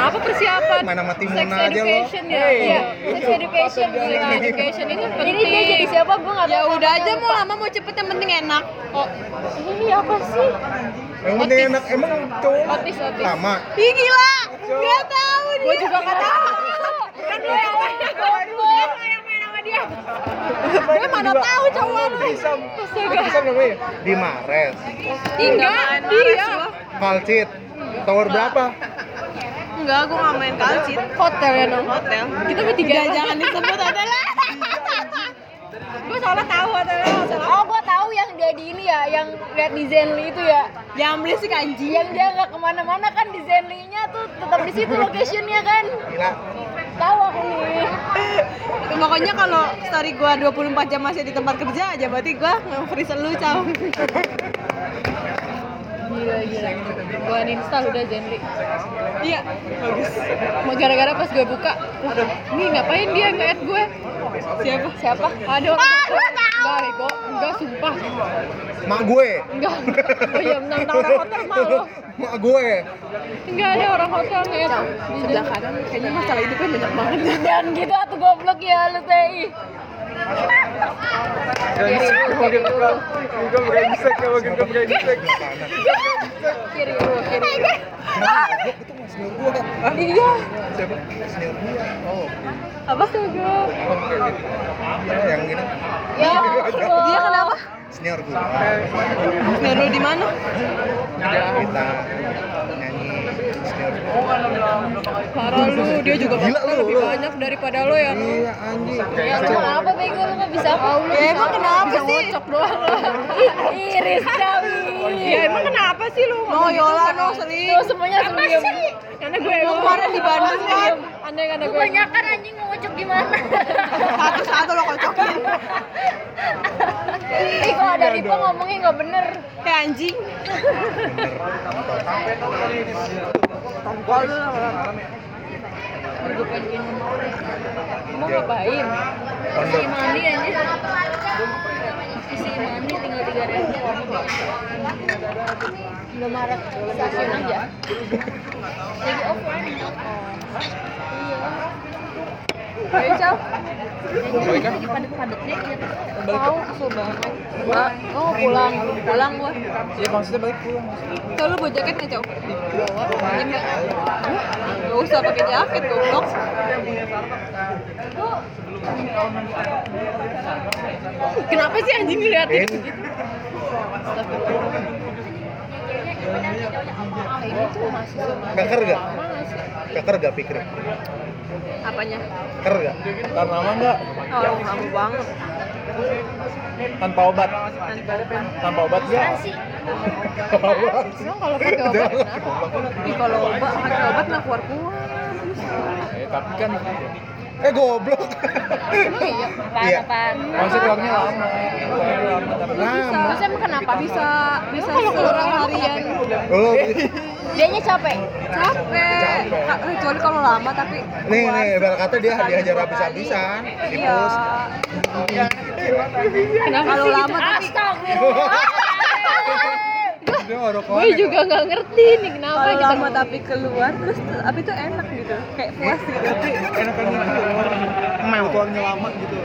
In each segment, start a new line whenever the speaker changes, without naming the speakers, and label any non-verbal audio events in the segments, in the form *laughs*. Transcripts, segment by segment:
apa persiapan
Main sama Timuna
Kan sex
aja lo.
education ya iya sex education sex education itu penting
Jadi dia jadi siapa gue nggak
ya
tahu.
udah aja mau lama mau cepet yang penting enak oh
Ini apa sih?
Yang penting enak emang cowok
Otis, otis.
lama.
ih gila nggak tahu dia
Gue juga nggak tahu.
kan lo yang main lo yang main sama dia gue mana tahu cowok lu
Tisam. Tisam namanya. Di Mares.
enggak dia
Kalcit. Tower
Iya.
berapa?
Enggak, gue gak main kalcit
Hotel ya dong.
Hotel
Kita bertiga jangan disebut adalah.
gue soalnya tahu ada
Oh, gue tahu yang dia di ini ya, yang lihat di Zenly itu ya.
Jangan berisik anjing
Yang dia nggak kemana-mana kan di Zenly-nya tuh tetap di situ locationnya kan.
Gila.
Tahu aku nih.
Pokoknya kalau story gue 24 jam masih di tempat kerja aja Berarti gue nge-freeze lu, Cao
gila gila gue uninstall udah Zenly
Iya
mau gara-gara pas gue buka waduh nih ngapain dia nge-add gue
Siapa?
siapa ada orang ah, gue tahu bego enggak sumpah
Mak gue.
*laughs*
enggak oh iya mentang-mentang orang hotel malu
Mak gue.
enggak ada orang hotel nge-add
Sebelah kanan, kayaknya masalah hidupnya banyak banget
Jangan gitu atuh goblok ya lu Tei.
Makin tukang, juga brengsek ya, makin tukang
gitu,
brengsek.
Kiri lu, kiri. lu.
Ah.
Itu mas senior gue kan. Hah?
Iya.
Siapa? Senior gue. Oh.
apa tuh gue
oh, kayak gitu. Iya, yang ini.
Iya,
Ya Allah.
Dia kenapa?
Senior gue.
Ngeru di mana?
Kita nyanyi senior gue.
parah lu dia juga
Gila lu,
hotel lebih
lu.
banyak daripada lo ya
Iya anjing.
Ya lu kenapa bego lu nggak bisa apa? Lu
Ya emang kenapa
bisa
sih?
ngocok doang lo
Iris kami.
ya emang kenapa sih lu
No, Yola, no, sering
Tuh semuanya
apa
sebelum.
sih karena gue
Lu kemarin di Bandung kan?
aneh karena gue
Kebanyakan anjing ngocok di
*laughs*
mana?
Satu-satu lo kocokin
Ih kalau ada Ripo ngomongnya nggak bener.
Ya anjing
mau ngapain
Iya. Pondok.
Mandi anjing. Isi mandi tinggal tiga ribu. Belum Maret stasiun aja. Lagi offline. Iya.
Ayo, Cao
Lagi padet-padetnya ya.
Tahu kesel banget. Gua mau pulang, pulang gua. Iya maksudnya balik pulang. Tahu lu bawa jaket nggak Cok? Bawa. Ya nggak. Nggak usah pakai jaket goblok.
kenapa sih anjing ngeliatin
Eh,
Ini tuh masih
Keker gak? Keker gak pikirnya?
Apanya?
Keker gak?
Tahan lama nggak?
Oh, lama banget.
Tanpa obat. Tanpa obat
Iya
ya? Tanpa obat.
emang Iya
Tapi
kalau pakai obat kenapa
kalau obat, pakai obat nggak keluar keluar.
Eh, tapi kan
Eh goblok. Iya.
Apaan?
maksudnya keluarnya lama. Keluarnya lama, tapi
Lama.
Terus emang kenapa? Bisa, bisa seluruh harian.
Lu
Dianya capek.
Capek. Ka- Kecuali kalau lama tapi.
nih
keluar
nih ibarat kata dia
sekali,
dihajar
dua
habis-habisan
kali.
di
Iya.
pos.
kenapa
Kalau
sih
lama tapi
*laughs* Dia orang
gue
gitu.
juga nggak ngerti nih kenapa
kalau
kita
lama tapi keluar terus tapi itu enak gitu kayak puas gitu
enakan gitu. Mau. Keluarnya lama gitu.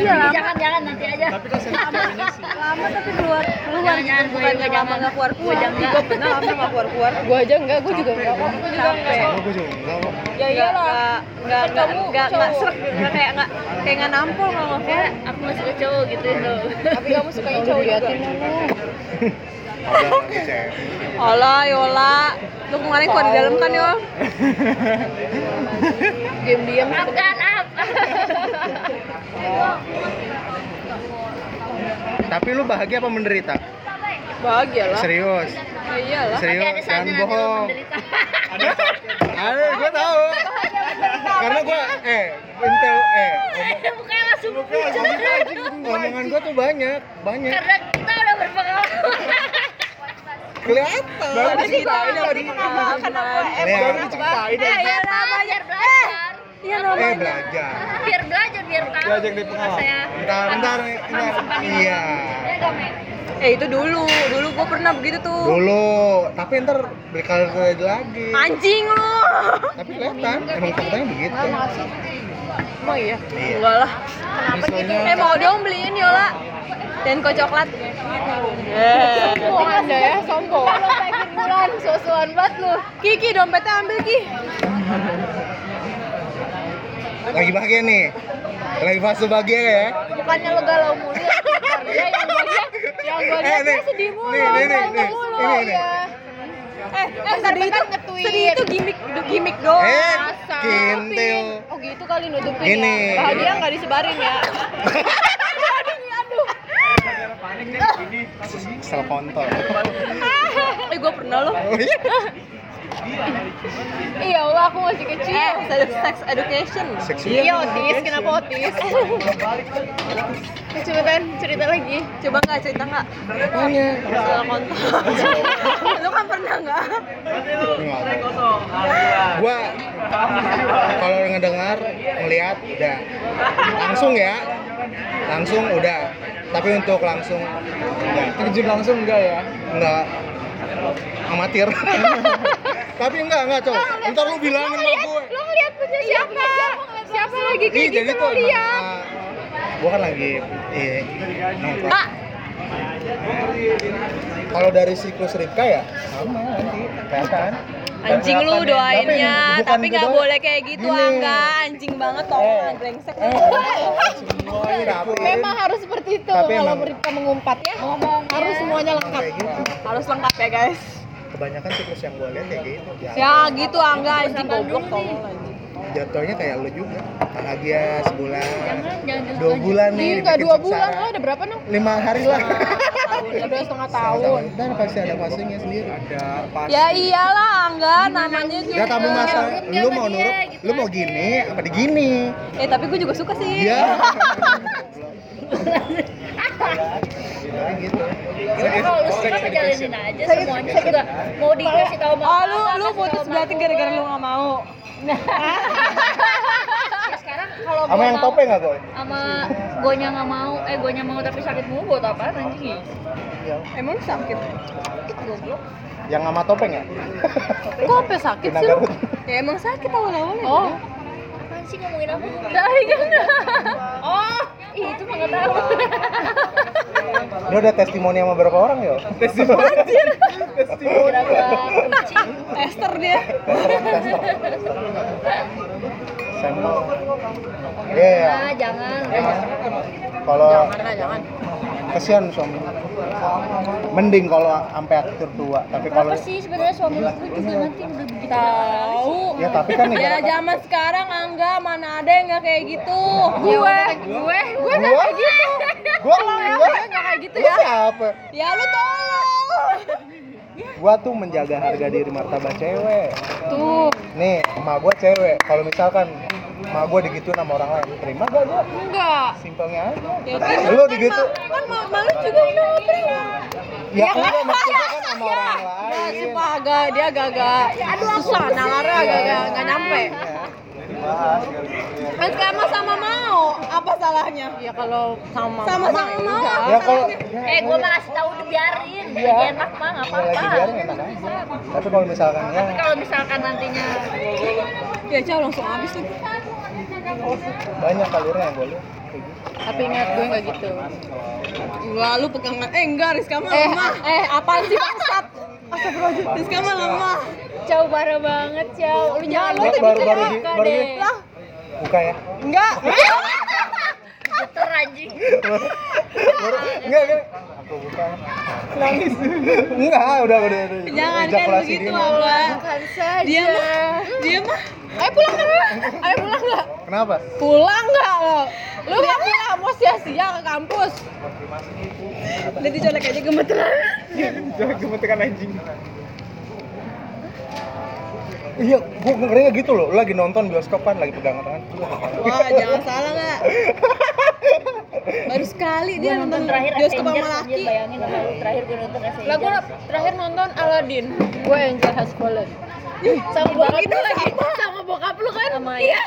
Iya, jangan-jangan nanti aja.
lama tapi keluar keluar
Jangan,
gitu
jangan, gue
bukan yang
jangan.
lama nggak keluar
Gue
keluar
jangan.
Ih, gue pernah lama nggak keluar keluar
gue aja enggak gue juga enggak kok gue juga enggak
Capek.
Gue juga enggak kok.
ya iyalah
nggak
Kan
nggak
kamu
nggak nggak
cowok.
serak gitu. nggak kayak nggak kayak nggak nampol kalau nggak keluar
Aku masih ke cowok gitu itu.
tapi kamu suka yang cowok juga
Ada lagi cewek.
Ola Yola lu kemarin keluar di dalam kan yo
diam diam
Bukan up.
Tapi lu bahagia apa menderita?
bahagia lah
Serius.
Ya iyalah
Tapi ada
Serius, jangan
saatnya nanti lo
kan bohong.
menderita.
Ada, gue tahu. Karena gue eh intel eh
*laughs* Bukan langsung muncul.
omongan gue tuh banyak, banyak.
Karena kita udah
*laughs*
berpengalaman.
Kelihatan. Eh,
Baru diceritain dari pengalaman
Baru
diceritain
Eh, ya namanya belajar.
iya
Eh
namanya
belajar.
Biar belajar, biar tahu.
Diajak di pengalaman.
Saya
Bentar, bentar. bentar. Iya.
ya nggak main.
Eh itu dulu, dulu gua pernah begitu tuh.
Dulu, tapi ntar berkali-kali lagi.
Anjing lu.
Tapi kelihatan, emang faktanya begitu.
Emang iya?
Iya.
Enggak lah.
Kenapa gitu?
Eh mau dong beliin Yola dan kok coklat. Eh.
Sombong anda ya, sombong. Kalau pengen bulan, sosuan banget lu.
Kiki dompetnya ambil Ki. Eh,
Lagi bahagia nih. Lagi fase bahagia ya.
Bukannya lo galau mulu ya, Bentar, dia yang gua lihat, yang gua lihat dia sedih mulu,
Eh, Nih, nih, nih, nih,
berantem mulu,
ini, ini.
iya.
Eh, eh sedih itu
bentar nge-tweet.
sedih itu gimmick gimmick doang.
Eh,
Masa
kintil.
nutupin. Oh gitu kali nutupin
Gini.
ya. Bahagia nggak disebarin ya.
Sel kontol.
Eh gua pernah loh.
Oh iya.
Iya Allah aku masih kecil.
Eh, sex education.
Eh.
Seksual.
Iya otis, kenapa
*laughs*
otis? Coba kan cerita lagi.
Coba nggak cerita nggak?
Apanya?
Soal *laughs* kontol. Lu kan pernah nggak?
Enggak. Gua kalau ngedengar, ngelihat udah. Langsung ya. Langsung udah. Tapi untuk langsung enggak.
Terjun langsung enggak ya?
Enggak amatir. Tapi enggak, enggak, Cok. Ntar lu bilangin sama gue. Iya,
Lo ngeliat punya siapa? Siapa lagi
Iya,
kayak
Ih,
gitu lo lihat?
ah, gua kan lagi eh, nongkrong.
Kak,
Kalau dari siklus Ripka ya sama nanti kan? kelihatan.
anjing lu
Kelihatan ya.
doainnya,
bukan
tapi nggak
gitu.
boleh kayak gitu
Gini.
angga, anjing banget tau
Eh.
orang brengsek.
Eh,
Wah,
tapi-
Memang harus seperti itu
Tapi
kalau
emang-
mereka mengumpat ya. Harus semuanya lengkap.
kayak gitu.
Harus lengkap ya guys.
Kebanyakan siklus yang gua lihat kayak gitu. Ya,
Ya gitu angga, anjing goblok tolong anjing.
Jatuhnya kayak lu juga. Bahagia sebulan, dua bulan nih.
Enggak
dibikin
dua
sengsara.
bulan lo ada berapa nang?
Lima hari
*laughs*
lah.
Udah setengah tahun.
Tahun. Dan pasti ada fasenya sendiri. Ada fase.
Ya iyalah angga, namanya juga.
Gak tapi masa lu mau nurut, lu mau gini apa digini?
Eh tapi gue juga suka sih.
Iya. gitu.
Kalau lu suka jalanin aja semuanya juga mau dikasih tahu
Ah,
Oh lu lu putus berarti gara-gara lu nggak mau.
sekarang kalau
Sama yang topeng nggak boy?
sama gonya nggak mau eh gonya mau tapi sakit mulu buat apa anjing
Emang lu sakit?
Yang sama topeng ya?
Kok sampai sakit
Kena
sih lu?
Garut.
Ya emang sakit awal-awalnya.
Oh,
apaan sih ngomongin apa
oh,
Ih, itu mah nggak tahu
Lu udah testimoni sama berapa orang ya? Testimoni.
berapa kucing
Tester dia.
Sampel. Iya. iya.
ah jangan
Kalau
Jangan, jangan.
kesian suami. Mending kalau sampai atur tua, tapi kalau
apa sih sebenarnya suami lu juga nanti udah begitu
Tahu.
ya tapi kan
Ya
negara
zaman sekarang Angga mana ada yang nggak kayak gitu. Gue, gue, gue nggak
Gua?
kayak gitu.
gua gua
Gue nggak kayak gitu
Lu
ya.
siapa?
Ya lu tolong.
Gua tuh menjaga harga diri martabat cewek.
Tuh.
Nih, emak gua cewek. Kalau misalkan emak gua digituin sama orang lain, terima gak gua?
enggak.
Simpelnya aja.
Ya, gitu.
Lu digitu.
Kan mau malu juga udah nggak terima.
Ya, enggak maksudnya kan sama orang
Ya,
lain.
sumpah agak dia agak-agak susah nalarnya agak-agak nggak nyampe.
Dibahas, gara-gara.
Kan sekarang sama mau, apa salahnya?
Ya kalau sama
Sama-sama mau. apa
Ya kalau
salahnya?
ya,
eh gua mah kasih tahu dibiarin
Iya.
Jadi enak mah nggak
kalau lagi
apa-apa
biarin enak aja. Tapi kalau misalkan ya
tapi kalau misalkan nantinya
Ya jauh langsung habis tuh.
banyak kalirnya yang boleh.
tapi ingat gue enggak gitu.
Enggak, lu pegangan. Eh, enggak, Rizka mah
Eh,
lemah.
eh apa sih bangsat?
*laughs* Rizka mah lemah.
Jauh parah banget, Jauh. Lu jangan lu
Baru-
tuh
baru-
gitu
baru
ya,
di-
Kak,
baru
deh.
di-
Lah,
Buka ya.
Enggak.
geter anjing
Baru- Enggak, enggak. Aku buka. Nangis. Enggak, udah udah. udah.
Jangan kan
Ejakulasi
begitu,
dini.
Allah.
kan saja.
Dia mah, dia mah. Ayo pulang enggak? Ayo pulang enggak?
Kenapa?
Pulang enggak lo? Lu enggak pulang mau sia-sia ke kampus.
Udah dicolek aja gemeteran.
Jangan gemetekan anjing.
Iya, gua ngerinya gitu loh. Lu lagi nonton bioskop kan lagi pegangan tangan.
Wah, jangan salah enggak. Baru sekali dia nonton
terakhir
bioskop
Avengers,
sama
anjir,
laki.
bayangin sama lu terakhir gua nonton Avengers
Lah gue terakhir nonton Aladdin. Gue Angel Has Fallen.
Sama bokap
Kita
lu lagi.
sama.
Sama bokap lu kan?
Sama
Iya.
ya.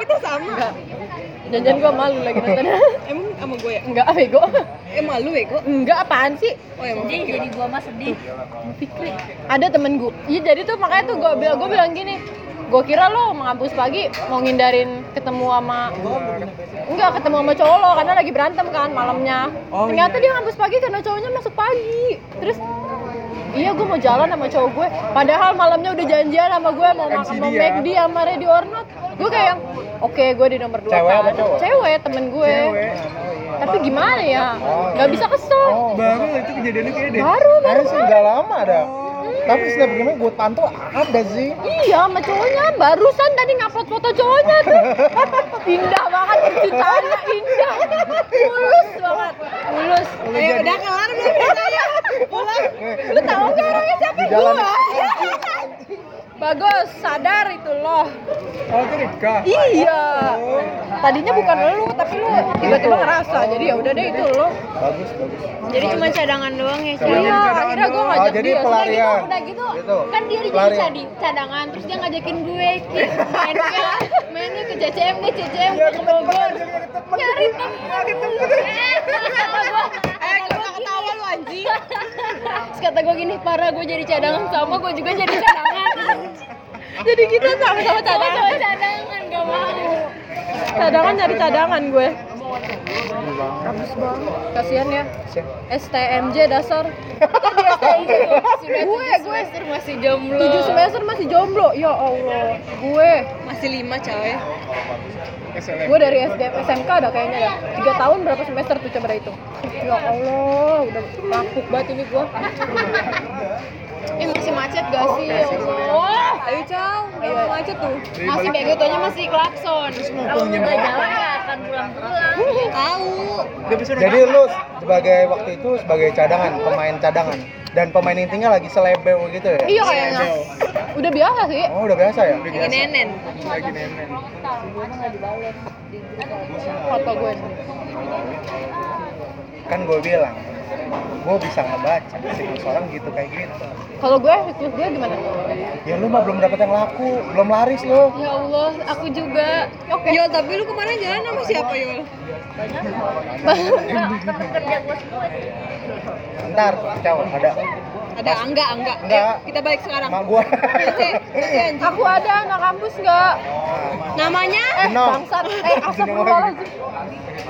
kita sama
Jangan gue malu lagi nonton. *laughs*
emang sama gue ya
Enggak, bego.
eh malu ya kok
Enggak apaan sih?
oh emang
Jadi jadi gua mah sedih.
Fikri. Ada temen gue. Iya jadi tuh makanya tuh gue bilang gue bilang gini. Gue kira lo mau ngampus pagi mau ngindarin ketemu sama enggak ketemu sama cowok lo karena lagi berantem kan malamnya.
Oh, iya.
Ternyata dia ngampus pagi karena cowoknya masuk pagi. Terus Iya gue mau jalan sama cowok gue Padahal malamnya udah janjian sama gue Mau makan
MCD
mau
ya.
McD sama Ready or Not Gue kayak yang Oke gue di nomor 2
Cewek
kan
apa cowok?
Cewek temen gue Tapi gimana ya Gak bisa kesel
Oh,
Baru itu kejadiannya kayak deh.
Baru baru
Harusnya udah lama dah. Tapi sudah bagaimana gue pantau ada sih.
Iya, sama cowoknya. Barusan tadi ngupload foto cowoknya tuh. Indah banget percintaannya, indah. Mulus banget. Mulus.
Ayo, udah kelar belum ceritanya? Pulang.
ya? Lu tahu gak orangnya siapa?
Di jalan.
Gua. *laughs* Bagus, sadar itu loh.
Oh, itu Rika.
Iya. Tadinya bukan lu, tapi lu tiba-tiba ngerasa. Jadi ya udah deh itu lo.
Bagus, bagus.
Jadi cuma cadangan doang ya.
Cadangan.
Iya, akhirnya gua
Oh,
ngajak
jadi
dia.
pelarian.
Udah gitu,
Gitu.
kan dia jadi
Pelarian.
cadi, cadangan, terus dia ngajakin gue Ki, mainnya, mainnya ke CCM nih, CCM
Iya,
Ya,
ke
ke
Bogor,
temen, jadi ke temen.
nyari temen, Eh, kata gua,
Eh, ketawa ketawa lu anjing.
terus kata gue gini, parah gue jadi cadangan sama, gue juga jadi cadangan,
Jadi kita sama-sama cadangan. Iya.
cowok cadangan, gak mau.
cadangan nyari cadangan gue kasihan ya STMJ dasar Tadi STMJ loh.
gitu. Sudah
gue
tujuh
gue
semester masih jomblo.
tujuh semester masih jomblo ya allah gue
Masih lima coy.
gue dari SDM SMK ada kayaknya ya tiga tahun berapa semester tuh coba hitung ya allah udah rampuk banget ini gue
Eh masih macet gak
Oh,
sih? Ya Allah.
ayo cal ayo macet tuh
Masih bego
gitu
tuanya masih klakson. Kalau udah jalan gak akan pulang-pulang.
Tahu.
Jadi lu sebagai waktu itu sebagai cadangan, pemain cadangan dan pemain intinya lagi selebew gitu ya.
*laughs* iya kayaknya udah biasa sih
Oh, udah biasa ya?
Lagi nenen.
Lagi nemen.
foto gue
Kan gue bilang, gue bisa ngebaca siklus orang gitu kayak gitu.
kalau gue siklus gue gimana
Ya lu mah belum dapet yang laku, belum laris lu.
ya allah aku juga Ya oke
Yol, tapi lu kemarin jalan sama siapa, Yol?
Temen kerja gue semua sih.
Ntar, cawan ada.
Ada Angga, Angga.
Angga.
Ayo, kita balik sekarang. Eh,
Mak
*laughs*
gue.
Cek, cek, anjing.
Eh, aku ada anak kampus nggak
Namanya
Eh,
No.
bangsat. Eh, astagfirullahaladzim.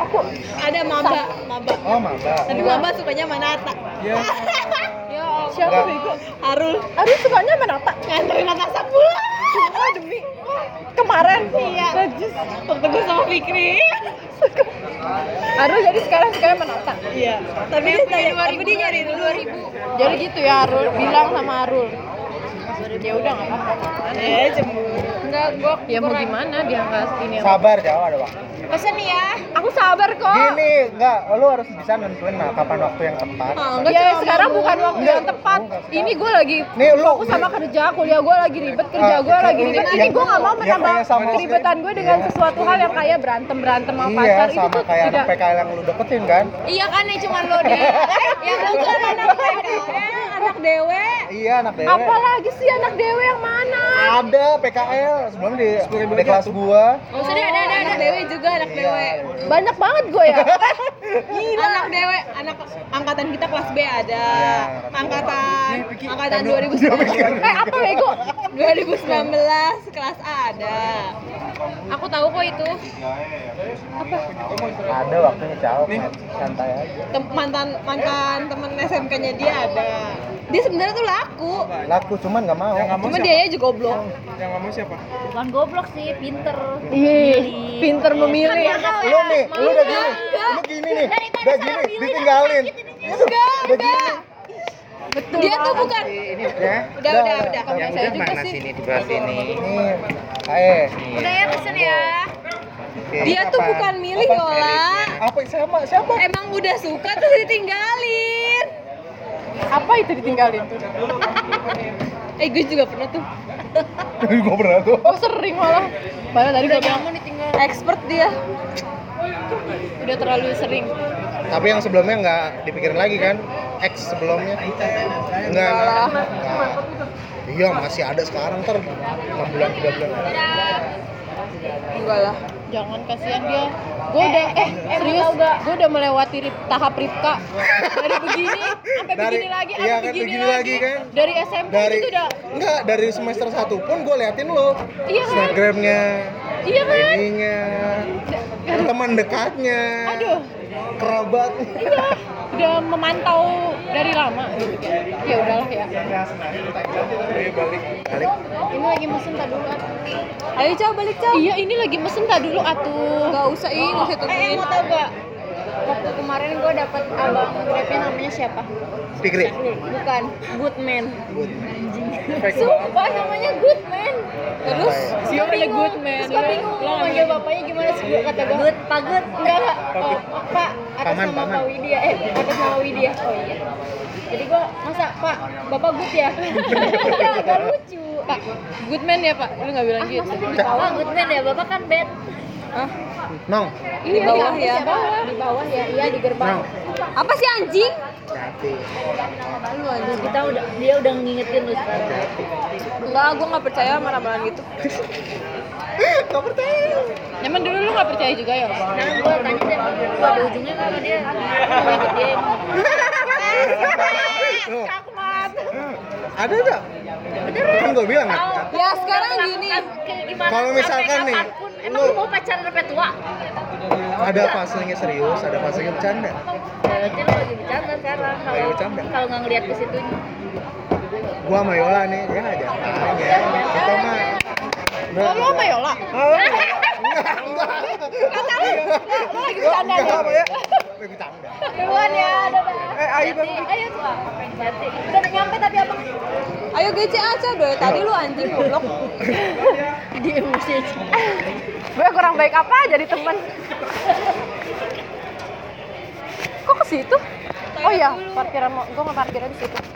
Aku
ada Maba, Maba.
Oh, mantap.
Tapi Maba sukanya sama Nata. *laughs*
Ya.
ya Iya. siapa
Nggak.
bego?
Arul
Aduh, sukanya sama Nata.
nganterin Natasha pulang.
Sumpah demi kemarin.
Iya. Waktu gue sama Fikri.
Aduh, jadi sekarang sukanya sama Nata.
Iya. Tapi dia nyari, tapi dia nyari dulu
Jadi gitu ya Arul, bilang sama Arul. Ya udah nggak apa-apa.
2000. Eh, cemburu.
Enggak, gua ya mau gimana dia nggak ini.
Sabar, Jawa ada waktu.
Pesen ya.
Aku sabar kok.
Gini, enggak, lu harus bisa nentuin nah, kapan waktu yang tepat.
Angga
ya,
cuma
sekarang
malu.
bukan waktu
Enggak.
yang tepat.
Enggak, sekarang.
Ini gue lagi
Nih, lu-
fokus sama kerja, kuliah gue lagi ribet, kerja
Ah,
gue
itu-
lagi ribet.
itu-
Ini
yang-
gue nggak mau
yang
menambah
kayak iya, sama-
keribetan gue dengan
Iya.
sesuatu hal yang kayak berantem berantem sama
Iya,
pacar itu
sama
tuh
kayak anak
tidak.
PKL yang lu deketin kan?
Iya kan yang cuma lo
*laughs*
deh.
Ya bukan anak PKL, anak dewe.
Iya, anak dewe.
Apalagi sih anak dewe yang mana?
Ada PKL sebelum di, di kelas gua.
Oh, ada ada ada anak dewe juga anak dewe.
Banyak banget gue ya.
Gila. Anak dewe, anak angkatan kita kelas B ada. Iya. Angkatan angkatan 2019.
eh apa bego?
2019 kelas A ada.
Aku tahu kok itu.
Iya, Ada waktunya jauh, kan? santai aja.
Tem- mantan mantan temen SMK-nya dia ada. Dia sebenarnya tuh laku.
Laku cuman nggak mau.
Yang nggak mau
Cuma dia juga goblok.
Yang nggak mau siapa?
Bukan goblok sih, pinter.
Ih, pinter
Iya,
memilih.
Lu
ya.
nih, lu udah gini, lu gini nih, udah gini, ditinggalin. Udah gini.
Betul.
Dia tuh bukan
Ini udah.
udah udah udah.
Yang udah mana sini di bawah sini.
Nih, eh.
Udah ya pesen ya.
Dia tuh bukan milih Yola.
Apa sama siapa? *laughs*
Emang udah suka terus ditinggalin.
Apa itu ditinggalin?
Eh gue juga pernah tuh.
Gue pernah tuh.
Oh sering malah. Padahal tadi gue bilang
ditinggal.
Expert dia.
udah terlalu sering.
Tapi yang sebelumnya nggak dipikirin lagi kan? X sebelumnya. Enggak, enggak. Iya masih ada sekarang ter 6 bulan 3 bulan.
Enggak lah.
Jangan kasihan dia. Gue udah eh, serius gue udah melewati rip- tahap Ripka dari
*laughs*
begini sampai
Dari-
begini lagi,
iya
sampai
kan,
begini,
begini
lagi.
lagi kan.
Dari SMP
Dari
itu udah
enggak dari semester 1 pun gue liatin lo.
Iya kan?
Instagramnya,
iya kan?
ininya, teman dekatnya,
Aduh,
kerabat.
iya. Udah memantau dari lama gitu kan. Ya udahlah ya.
Balik.
Ini lagi mesen tak dulu atuh.
Ayo coba balik coba.
Iya, ini lagi mesen tak dulu atuh.
Enggak usah ih, enggak
Eh,
usah tungguin.
mau tau gak? Waktu kemarin gue dapet abang grabnya namanya siapa?
Pikri.
Bukan, Goodman.
Good.
Sumpah namanya Goodman.
Terus
Siapa ada good man?
Terus gue bingung mau manggil bapaknya gimana sih gue kata gue. Good, Pak Good. Enggak, enggak. Oh, Pak, atas
ya? Paman,
nama
paman.
Pak Widya. Eh, atas nama Widya. Oh iya. Jadi gue, masa Pak, Bapak Good
*laughs*
ya? Enggak, enggak lucu.
Pak, good man ya, Pak. Lu enggak bilang
Ah,
gitu.
masa gue dikawal?
Wah, Goodman ya, Bapak kan bad.
Nong.
Iya,
di bawah ya.
Siapa? Di bawah ya, iya di gerbang.
Nong. *laughs*
Apa sih anjing?
Hati.
Terus kita udah dia udah ngingetin lu sekarang.
Enggak, gue enggak percaya sama ramalan gitu.
Gak percaya.
Emang dulu lu nggak percaya juga ya?
Nah, gua tanya deh, gua ada ujungnya kan sama dia. Gua mau ikut dia emang.
Eh,
Tuh. Ada enggak? Kan gue bilang kan.
Ya, sekarang gini.
Kalau misalkan nih,
emang
lu-
lu mau pacaran sampai tua?
Ada fasenya serius, ada fasenya bercanda.
Berarti lu lagi bercanda sekarang.
Lagi
Kalau
bercanda.
kalau nggak ngeliat ke situnya.
Gua sama Yola nih, ya aja. Ya, kita mah.
Kalau lu sama Yola?
Oh, enggak, enggak.
Kata lu, lu lagi bercanda
Enggak,
ya?
apa ya? Lagi bercanda.
Duluan ya, udah
Eh, ayo bang.
Ayo tuh. Udah nyampe tadi abang.
Ayo GC aja doi. Tadi lu anjing goblok.
Dia emosi aja.
Gue kurang baik apa jadi
*laughs*
temen? Kok ke situ? Oh iya, parkiran mau, gue mau parkiran di situ.